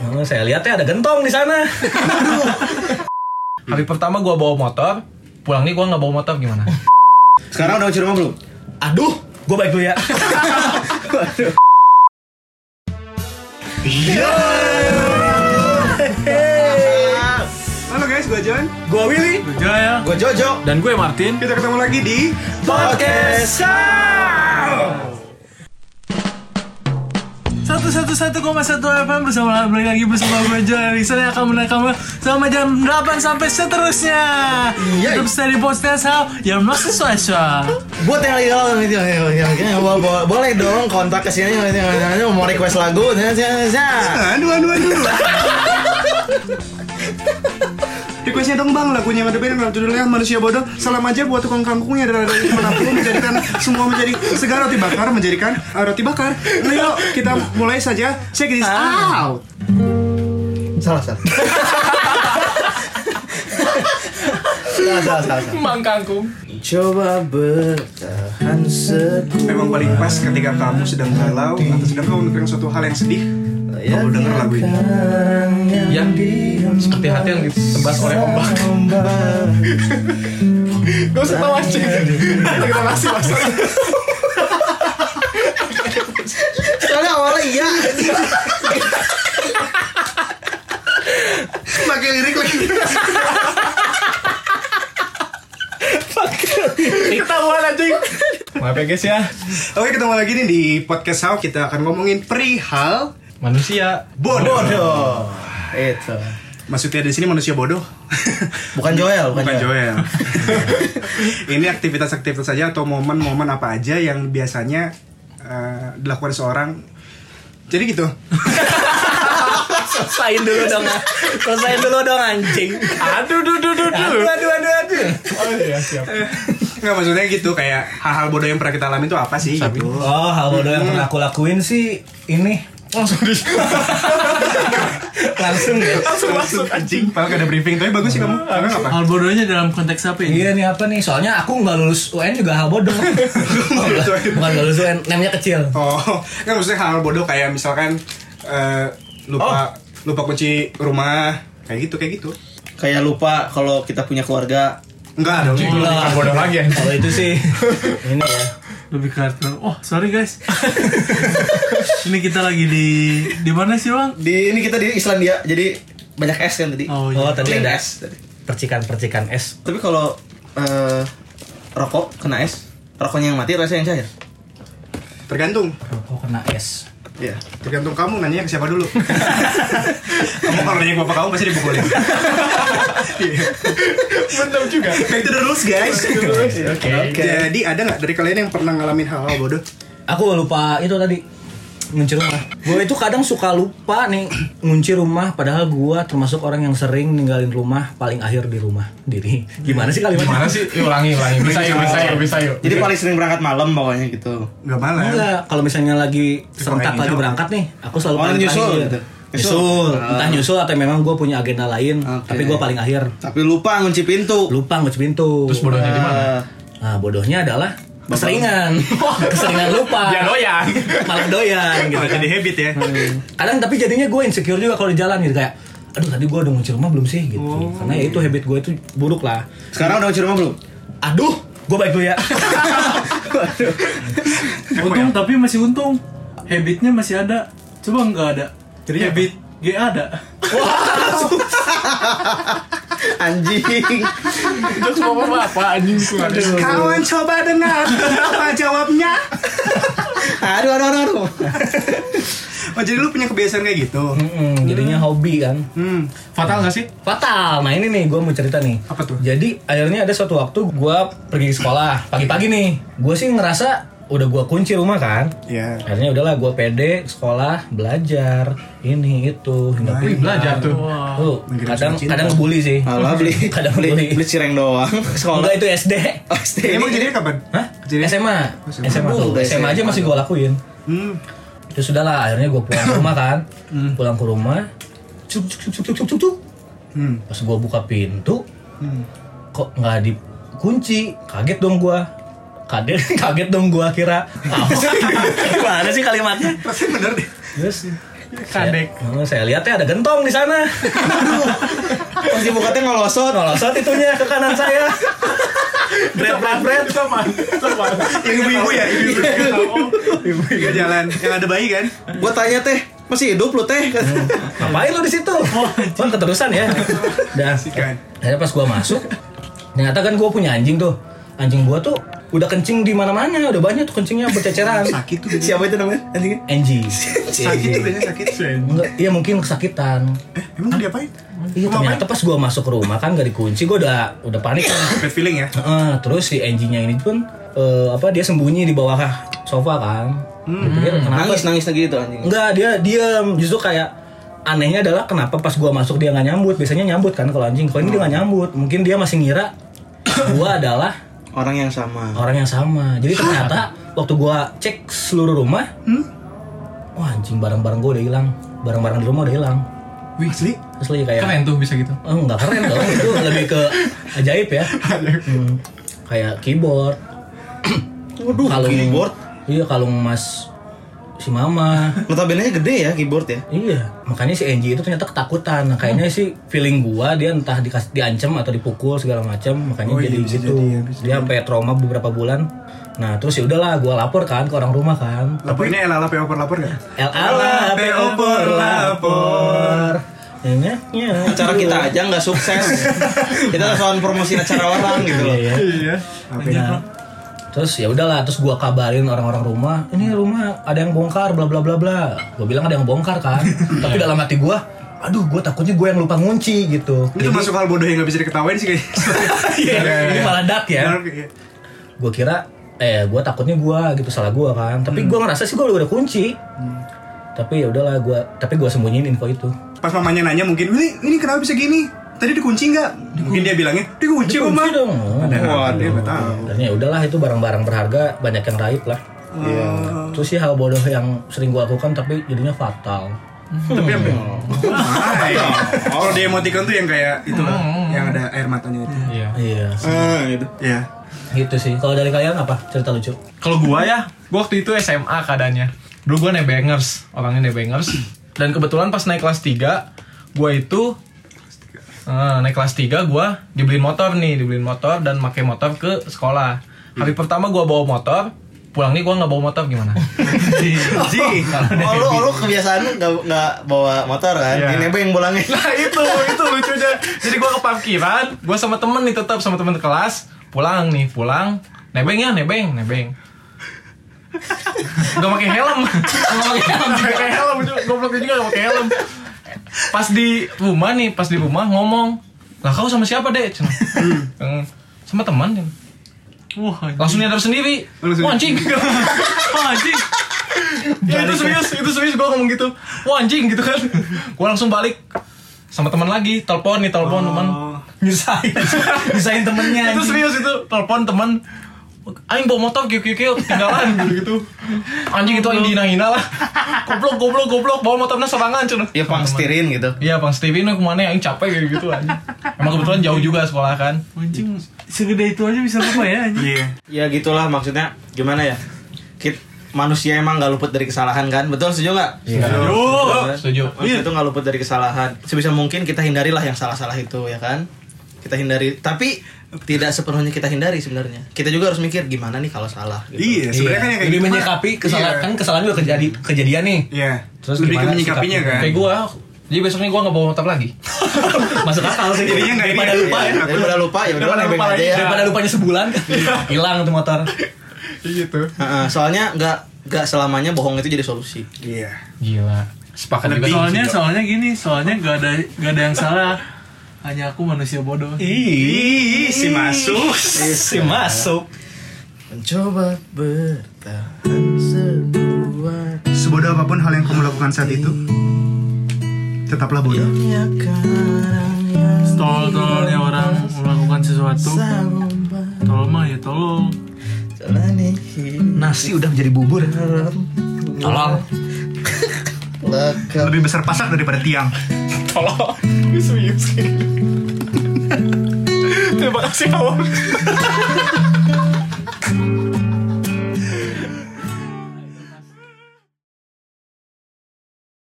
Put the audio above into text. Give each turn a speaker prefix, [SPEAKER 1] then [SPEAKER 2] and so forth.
[SPEAKER 1] Oh, saya lihat ya ada gentong di sana.
[SPEAKER 2] Hari pertama gua bawa motor, pulang nih gua nggak bawa motor gimana?
[SPEAKER 3] Sekarang udah kunci rumah belum?
[SPEAKER 1] Aduh, gue baik dulu ya.
[SPEAKER 4] Halo guys, gue John.
[SPEAKER 1] Gue Willy.
[SPEAKER 5] ya.
[SPEAKER 3] Gue Jojo.
[SPEAKER 5] Dan gue Martin.
[SPEAKER 4] Kita ketemu lagi di
[SPEAKER 1] Podcast.
[SPEAKER 5] Satu satu satu koma satu FM bersama balik lagi bersama gue Joel Erickson yang akan menekan sama jam 8 sampai seterusnya.
[SPEAKER 3] Iya.
[SPEAKER 5] Hidup dari podcast how your most special.
[SPEAKER 3] Buat yang lagi galau gitu, bo- bo- boleh dong kontak ke sini mau request lagu. ya, ya, ya.
[SPEAKER 4] Aduh, aduh, aduh. Requestnya dong bang, lagunya Madu Band dalam judulnya Manusia Bodoh Salam aja buat tukang kampungnya dari dari manapun Menjadikan semua menjadi segar roti bakar Menjadikan uh, roti bakar Nah yuk, kita mulai saja Check this out
[SPEAKER 3] Salah, salah. salah, salah, salah, salah.
[SPEAKER 2] Mang kangkung.
[SPEAKER 3] Coba bertahan seku
[SPEAKER 4] Memang paling pas ketika kamu sedang galau Atau sedang kamu mikirin suatu hal yang sedih Kamu denger lagu ini
[SPEAKER 2] Ya, seperti hati yang ditebas oleh ombak.
[SPEAKER 4] Gak usah tau aja Kita nasi masalah
[SPEAKER 3] Soalnya awalnya iya
[SPEAKER 4] Pakai lirik lagi
[SPEAKER 2] Kita buat anjing. Maaf ya guys ya.
[SPEAKER 4] Oke ketemu lagi nih di podcast How Kita akan ngomongin perihal
[SPEAKER 2] Manusia.
[SPEAKER 4] bodoh,
[SPEAKER 3] Bodoh Itu
[SPEAKER 4] Maksudnya di sini manusia bodoh
[SPEAKER 3] Bukan Joel, bukan,
[SPEAKER 4] Bukan
[SPEAKER 3] Joel.
[SPEAKER 4] Joel. Ini aktivitas-aktivitas saja atau momen-momen apa aja yang biasanya eh, dilakukan seorang. Jadi gitu.
[SPEAKER 1] Selesain dulu dong. ah. Selesain dulu dong anjing.
[SPEAKER 5] Aduh duh duh duh
[SPEAKER 1] Aduh aduh aduh aduh.
[SPEAKER 4] Nggak maksudnya gitu kayak hal-hal bodoh yang pernah kita alami itu apa sih gitu.
[SPEAKER 1] Oh, hal bodoh yang pernah aku lakuin sih ini langsung di langsung ya.
[SPEAKER 4] Langsung anjing, padahal nggak ada briefing tapi bagus sih kamu. Karena apa?
[SPEAKER 5] Hal bodohnya dalam konteks apa ini?
[SPEAKER 1] Iya nih apa nih? Soalnya aku nggak lulus UN juga hal bodoh. Bukan nggak lulus UN, namanya kecil.
[SPEAKER 4] Oh, nggak maksudnya hal bodoh kayak misalkan eh, lupa lupa kunci rumah kayak gitu kayak gitu.
[SPEAKER 3] Kayak lupa kalau kita punya keluarga
[SPEAKER 4] Enggak dong.
[SPEAKER 2] Bukan
[SPEAKER 1] Lah.
[SPEAKER 2] bodoh lagi anjing.
[SPEAKER 1] Kalau itu sih ini ya.
[SPEAKER 5] Lebih ke hardcore. Oh sorry guys. ini kita lagi di di mana sih bang?
[SPEAKER 3] di ini kita di Islandia jadi banyak es kan tadi
[SPEAKER 5] Oh
[SPEAKER 1] Oh
[SPEAKER 5] iya.
[SPEAKER 1] tadi
[SPEAKER 3] Clean
[SPEAKER 1] ada
[SPEAKER 3] es tadi.
[SPEAKER 1] percikan-percikan es.
[SPEAKER 3] tapi kalau eh, rokok kena es rokoknya yang mati rasanya yang cair
[SPEAKER 4] Tergantung.
[SPEAKER 1] Rokok kena es.
[SPEAKER 3] Iya.
[SPEAKER 4] Tergantung kamu nanya ke siapa dulu. kamu kalau nanya ke bapak kamu pasti dipukulin. Iya.
[SPEAKER 2] Bener juga.
[SPEAKER 4] nah itu udah lulus guys. ya.
[SPEAKER 2] Oke.
[SPEAKER 4] Jadi ada nggak dari kalian yang pernah ngalamin hal-hal bodoh?
[SPEAKER 1] Aku lupa itu tadi ngunci rumah. Gue itu kadang suka lupa nih ngunci rumah. Padahal gue termasuk orang yang sering ninggalin rumah paling akhir di rumah. Jadi gimana sih kalimatnya?
[SPEAKER 2] Gimana sih? Yuk, ulangi ulangi. Bisa yuk bisa yuk bisa yuk.
[SPEAKER 3] jadi paling sering berangkat malam pokoknya gitu
[SPEAKER 4] Gak malah.
[SPEAKER 1] Enggak, Iya, kalau misalnya lagi serentak lagi berangkat nih, aku selalu
[SPEAKER 3] Oh,
[SPEAKER 1] paling
[SPEAKER 3] nyusul
[SPEAKER 1] terakhir.
[SPEAKER 3] gitu.
[SPEAKER 1] Nyusul.
[SPEAKER 3] Nyusul.
[SPEAKER 1] Entah nyusul atau memang gue punya agenda lain,
[SPEAKER 3] Oke.
[SPEAKER 1] tapi gue paling akhir.
[SPEAKER 3] tapi lupa ngunci pintu
[SPEAKER 1] Lupa ngunci pintu.
[SPEAKER 2] Terus bodohnya di mana?
[SPEAKER 3] Eh,
[SPEAKER 1] Nah, bodohnya adalah keseringan. keseringan lupa.
[SPEAKER 2] Ya doyan.
[SPEAKER 1] Malah doyan gitu.
[SPEAKER 4] Oh,
[SPEAKER 1] kan.
[SPEAKER 4] jadi habit ya.
[SPEAKER 1] Kadang tapi jadinya gue insecure juga kalau di jalan gitu kayak aduh tadi gue udah ngunci rumah belum sih gitu. Karena ya itu habit gue itu buruk lah.
[SPEAKER 3] sekarang udah ngunci rumah belum
[SPEAKER 1] Aduh, gue baik dulu ya.
[SPEAKER 5] Untung tapi masih untung. Habitnya masih ada. Coba nggak ada. Jadi habit GA ada.
[SPEAKER 3] anjing
[SPEAKER 2] Jokes bapak bapak anjing.
[SPEAKER 4] Kawan coba dengar apa jawabnya.
[SPEAKER 3] aduh aduh aduh, aduh.
[SPEAKER 4] Oh jadi lu punya kebiasaan kayak gitu.
[SPEAKER 1] Mm-mm, jadinya hobi kan.
[SPEAKER 4] Hmm.
[SPEAKER 2] Fatal gak sih?
[SPEAKER 1] Fatal. Nah ini nih gue mau cerita nih.
[SPEAKER 4] Apa tuh?
[SPEAKER 1] Jadi akhirnya ada suatu waktu gue pergi ke sekolah pagi-pagi nih. Gue sih ngerasa udah gue kunci rumah kan.
[SPEAKER 4] Ya.
[SPEAKER 1] Akhirnya udahlah gue pede ke sekolah belajar ini itu hingga
[SPEAKER 2] Wih,
[SPEAKER 1] pindah.
[SPEAKER 2] belajar tuh.
[SPEAKER 1] Tuh,
[SPEAKER 4] Mengirim
[SPEAKER 1] kadang
[SPEAKER 4] surat cinta.
[SPEAKER 1] kadang ngebully sih.
[SPEAKER 3] malah beli
[SPEAKER 1] Kadang
[SPEAKER 3] beli
[SPEAKER 1] beli.
[SPEAKER 3] beli cireng doang ke sekolah
[SPEAKER 1] Enggak itu SD.
[SPEAKER 3] Oh, stay.
[SPEAKER 4] Emang gitu? jadinya kapan?
[SPEAKER 1] Hah?
[SPEAKER 4] Jadi-
[SPEAKER 1] SMA.
[SPEAKER 4] SMA.
[SPEAKER 1] SMA tuh.
[SPEAKER 3] Udah
[SPEAKER 1] SMA aja
[SPEAKER 3] SMA
[SPEAKER 1] masih gue lakuin.
[SPEAKER 4] Hmm.
[SPEAKER 1] Terus Ya sudah lah akhirnya gue pulang ke rumah kan. Pulang ke rumah. Cuk cuk cuk cuk cuk, cuk cuk cuk.
[SPEAKER 4] Hmm.
[SPEAKER 1] Pas gue buka pintu, Hmm. kok nggak dikunci? Kaget dong gue. Kaget, kaget dong gue kira. Apa? Gimana sih kalimatnya?
[SPEAKER 4] Rasanya bener deh.
[SPEAKER 1] Terus
[SPEAKER 5] Kadek.
[SPEAKER 1] Oh, saya lihat ya ada gentong di sana.
[SPEAKER 3] Pas dibukanya ngolosot.
[SPEAKER 1] Nolosot itunya ke kanan saya. Bret bret bret.
[SPEAKER 4] Yang ibu-ibu ya, ibu-ibu. Ibu-ibu jalan. Yang ada bayi kan?
[SPEAKER 3] Gue tanya teh, masih hidup lu teh?
[SPEAKER 1] Ngapain lu di situ? Wah, keterusan ya. Dan
[SPEAKER 4] Sikat.
[SPEAKER 1] akhirnya pas gua masuk, ternyata kan gua punya anjing tuh. Anjing gua tuh udah kencing di mana-mana, udah banyak tuh kencingnya berceceran.
[SPEAKER 4] Sakit tuh. biasanya.
[SPEAKER 3] Siapa itu namanya? kan? Anjingnya?
[SPEAKER 1] Anjing.
[SPEAKER 4] Sakit tuh biasanya sakit.
[SPEAKER 1] Enggak, iya mungkin kesakitan.
[SPEAKER 4] Eh, emang diapain?
[SPEAKER 1] Iya ternyata pas gua masuk ke rumah kan gak dikunci, gua udah udah panik. kan.
[SPEAKER 4] Bad feeling ya.
[SPEAKER 1] Heeh, terus si anjingnya ini pun eh, apa dia sembunyi di bawah sofa kan. Dia kenapa
[SPEAKER 3] Nangis nangis lagi itu anjing.
[SPEAKER 1] Enggak, dia diam. Justru kayak anehnya adalah kenapa pas gua masuk dia nggak nyambut. Biasanya nyambut kan kalau anjing. Kalau ini dia nggak nyambut. Mungkin dia masih ngira gua adalah
[SPEAKER 3] Orang yang sama.
[SPEAKER 1] orang yang sama. Jadi ternyata waktu gua cek seluruh rumah, wah anjing barang-barang gua udah hilang. Barang-barang di rumah udah hilang.
[SPEAKER 4] Wih, asli.
[SPEAKER 1] Asli kayak
[SPEAKER 5] Keren tuh bisa gitu.
[SPEAKER 1] Oh, enggak keren dong. Itu lebih ke ajaib ya. Hmm. Kayak keyboard.
[SPEAKER 3] Waduh, keyboard.
[SPEAKER 1] Iya, kalung Mas si Mama.
[SPEAKER 3] Notabene gede ya keyboard ya.
[SPEAKER 1] Iya, makanya si Angie itu ternyata ketakutan. Nah, kayaknya sih feeling gua dia entah dikas- diancam atau dipukul segala macam, makanya jadi gitu. dia sampai trauma beberapa bulan. Nah, terus ya udahlah gua lapor kan ke orang rumah kan.
[SPEAKER 4] Laporinnya Ella Lape Opor lapor gak?
[SPEAKER 1] LA lah, PO per lapor. iya, Enaknya.
[SPEAKER 3] Acara kita aja nggak sukses. kita harus soal promosi acara orang gitu loh.
[SPEAKER 1] Iya.
[SPEAKER 4] Iya. Lape.
[SPEAKER 1] Nah, terus ya udahlah terus gua kabarin orang-orang rumah ini rumah ada yang bongkar bla bla bla bla gua bilang ada yang bongkar kan tapi dalam hati gua aduh gua takutnya gua yang lupa ngunci gitu
[SPEAKER 4] Ini termasuk hal bodoh yang gak bisa diketawain sih kayaknya. Iya, iya,
[SPEAKER 1] ini
[SPEAKER 4] iya.
[SPEAKER 1] malah dark ya
[SPEAKER 4] Iya.
[SPEAKER 1] gue kira eh gue takutnya gue gitu salah gue kan tapi
[SPEAKER 4] Hmm.
[SPEAKER 1] gue ngerasa sih gue udah kunci tapi ya udahlah gue tapi gue sembunyiin info itu
[SPEAKER 4] Pas mamanya nanya mungkin, ini, ini kenapa bisa gini? Tadi dikunci nggak? Mungkin dia bilangnya, dikunci kok mah.
[SPEAKER 1] Kunci dong
[SPEAKER 4] Wah, dia nggak tahu.
[SPEAKER 1] dan ya udahlah itu barang-barang berharga banyak yang raib lah
[SPEAKER 4] Iya.
[SPEAKER 1] terus sih hal bodoh yang sering gue lakukan tapi jadinya fatal
[SPEAKER 4] Tapi apa? Hai. Kalau dia emoticon tuh yang kayak itu loh, yang ada air matanya itu.
[SPEAKER 5] Iya.
[SPEAKER 1] iya
[SPEAKER 3] Ah, gitu.
[SPEAKER 4] Iya.
[SPEAKER 1] gitu sih kalau dari kalian apa cerita lucu
[SPEAKER 5] Kalau gua ya, gua waktu itu SMA keadaannya. Dulu gua nebengers, orangnya nebengers. Dan kebetulan pas naik kelas 3, gua itu eh, naik kelas 3 gua dibeliin motor nih, dibeliin motor dan pakai motor ke sekolah. Hari pertama gua bawa motor, pulang nih gua nggak bawa motor gimana?
[SPEAKER 4] Ji,
[SPEAKER 3] Oh lu, lu kebiasaan nggak nggak bawa motor kan?
[SPEAKER 5] Iya.
[SPEAKER 3] Ini nebeng pulangnya.
[SPEAKER 5] Nah itu, itu lucunya. Jadi gua ke parkiran, gua sama temen nih tetap sama temen kelas, pulang nih, pulang, nebeng ya, nebeng, nebeng. Gak pakai helm, gak pakai helm, gak pakai helm, gobloknya juga gak pakai helm. Pas di rumah nih, pas di rumah ngomong, lah kau sama siapa deh? Cina. "Hmm, sama teman. Cina."
[SPEAKER 2] Wah,
[SPEAKER 5] Langsung nyadar sendiri,
[SPEAKER 4] Langsung.
[SPEAKER 5] wah anjing, wah anjing. Ya, itu serius, itu serius gue ngomong gitu. Wah anjing gitu kan. Gue langsung balik sama teman lagi, telepon nih telepon
[SPEAKER 2] Oh.
[SPEAKER 5] teman.
[SPEAKER 1] nyusahin nyusahin temennya
[SPEAKER 5] Itu serius itu telepon teman. Aing bawa motor kiu kiu kiu ketinggalan gitu gitu. Anjing itu aing dihina hina lah. Goblok goblok goblok bawa motornya serangan cina.
[SPEAKER 3] Ya pang stirin gitu.
[SPEAKER 5] Iya bang Steven ini kemana aing capek kayak gitu anjing. Emang kebetulan jauh juga sekolah kan.
[SPEAKER 2] anjing segede itu aja bisa lupa ya anjing.
[SPEAKER 4] Iya.
[SPEAKER 3] Ya gitulah maksudnya gimana ya? Kit manusia emang nggak luput dari kesalahan kan? Betul setuju nggak?
[SPEAKER 1] Iya.
[SPEAKER 4] Iya.
[SPEAKER 3] kan?
[SPEAKER 5] Setuju. Oh, Setuju. Iya.
[SPEAKER 3] Manusia itu nggak luput dari kesalahan. Sebisa mungkin kita hindarilah yang salah-salah itu ya kan? Kita hindari, tapi tidak sepenuhnya kita hindari sebenarnya. Kita juga harus mikir gimana nih kalau salah.
[SPEAKER 4] Iya,
[SPEAKER 3] Gitu.
[SPEAKER 4] sebenarnya kan yang kayak
[SPEAKER 1] lebih
[SPEAKER 4] gitu, Pak.
[SPEAKER 1] menyikapi kesalahan
[SPEAKER 4] Iya.
[SPEAKER 1] kan kesalahan udah kejadi, kejadian nih
[SPEAKER 4] Iya.
[SPEAKER 1] Terus
[SPEAKER 4] lebih ke
[SPEAKER 1] gimana
[SPEAKER 4] menyikapinya
[SPEAKER 1] sikapnya?
[SPEAKER 4] kan.
[SPEAKER 5] Kayak gue, jadi besoknya gue nggak bawa motor lagi.
[SPEAKER 1] masuk akal sih
[SPEAKER 4] Jadinya nggak ini
[SPEAKER 1] daripada
[SPEAKER 4] ya.
[SPEAKER 1] lupa ya
[SPEAKER 4] Iya.
[SPEAKER 3] Daripada lupa ya udah
[SPEAKER 5] Daripada
[SPEAKER 3] nebeng
[SPEAKER 5] lupa iya.
[SPEAKER 3] aja
[SPEAKER 5] lagi.
[SPEAKER 3] ya.
[SPEAKER 1] daripada lupanya sebulan hilang tuh motor
[SPEAKER 4] Gitu.
[SPEAKER 3] Heeh, soalnya nggak nggak selamanya bohong itu jadi solusi.
[SPEAKER 4] Iya.
[SPEAKER 5] Gila. Sepakat juga sama
[SPEAKER 2] Soalnya
[SPEAKER 5] Sido.
[SPEAKER 2] soalnya gini, soalnya gak ada gak ada yang salah. Hanya aku manusia bodoh.
[SPEAKER 4] Ih, si masuk.
[SPEAKER 1] si masuk
[SPEAKER 3] Mencoba bertahan sebuah
[SPEAKER 4] Sebodoh apapun hal yang kamu lakukan saat itu, tetaplah bodoh.
[SPEAKER 2] Tolol-tololnya orang melakukan sesuatu. Tolol mah ya tolol.
[SPEAKER 1] nasi udah menjadi bubur tolong
[SPEAKER 4] Lebih besar pasak daripada tiang.
[SPEAKER 5] Tolong, serius Terima kasih awal.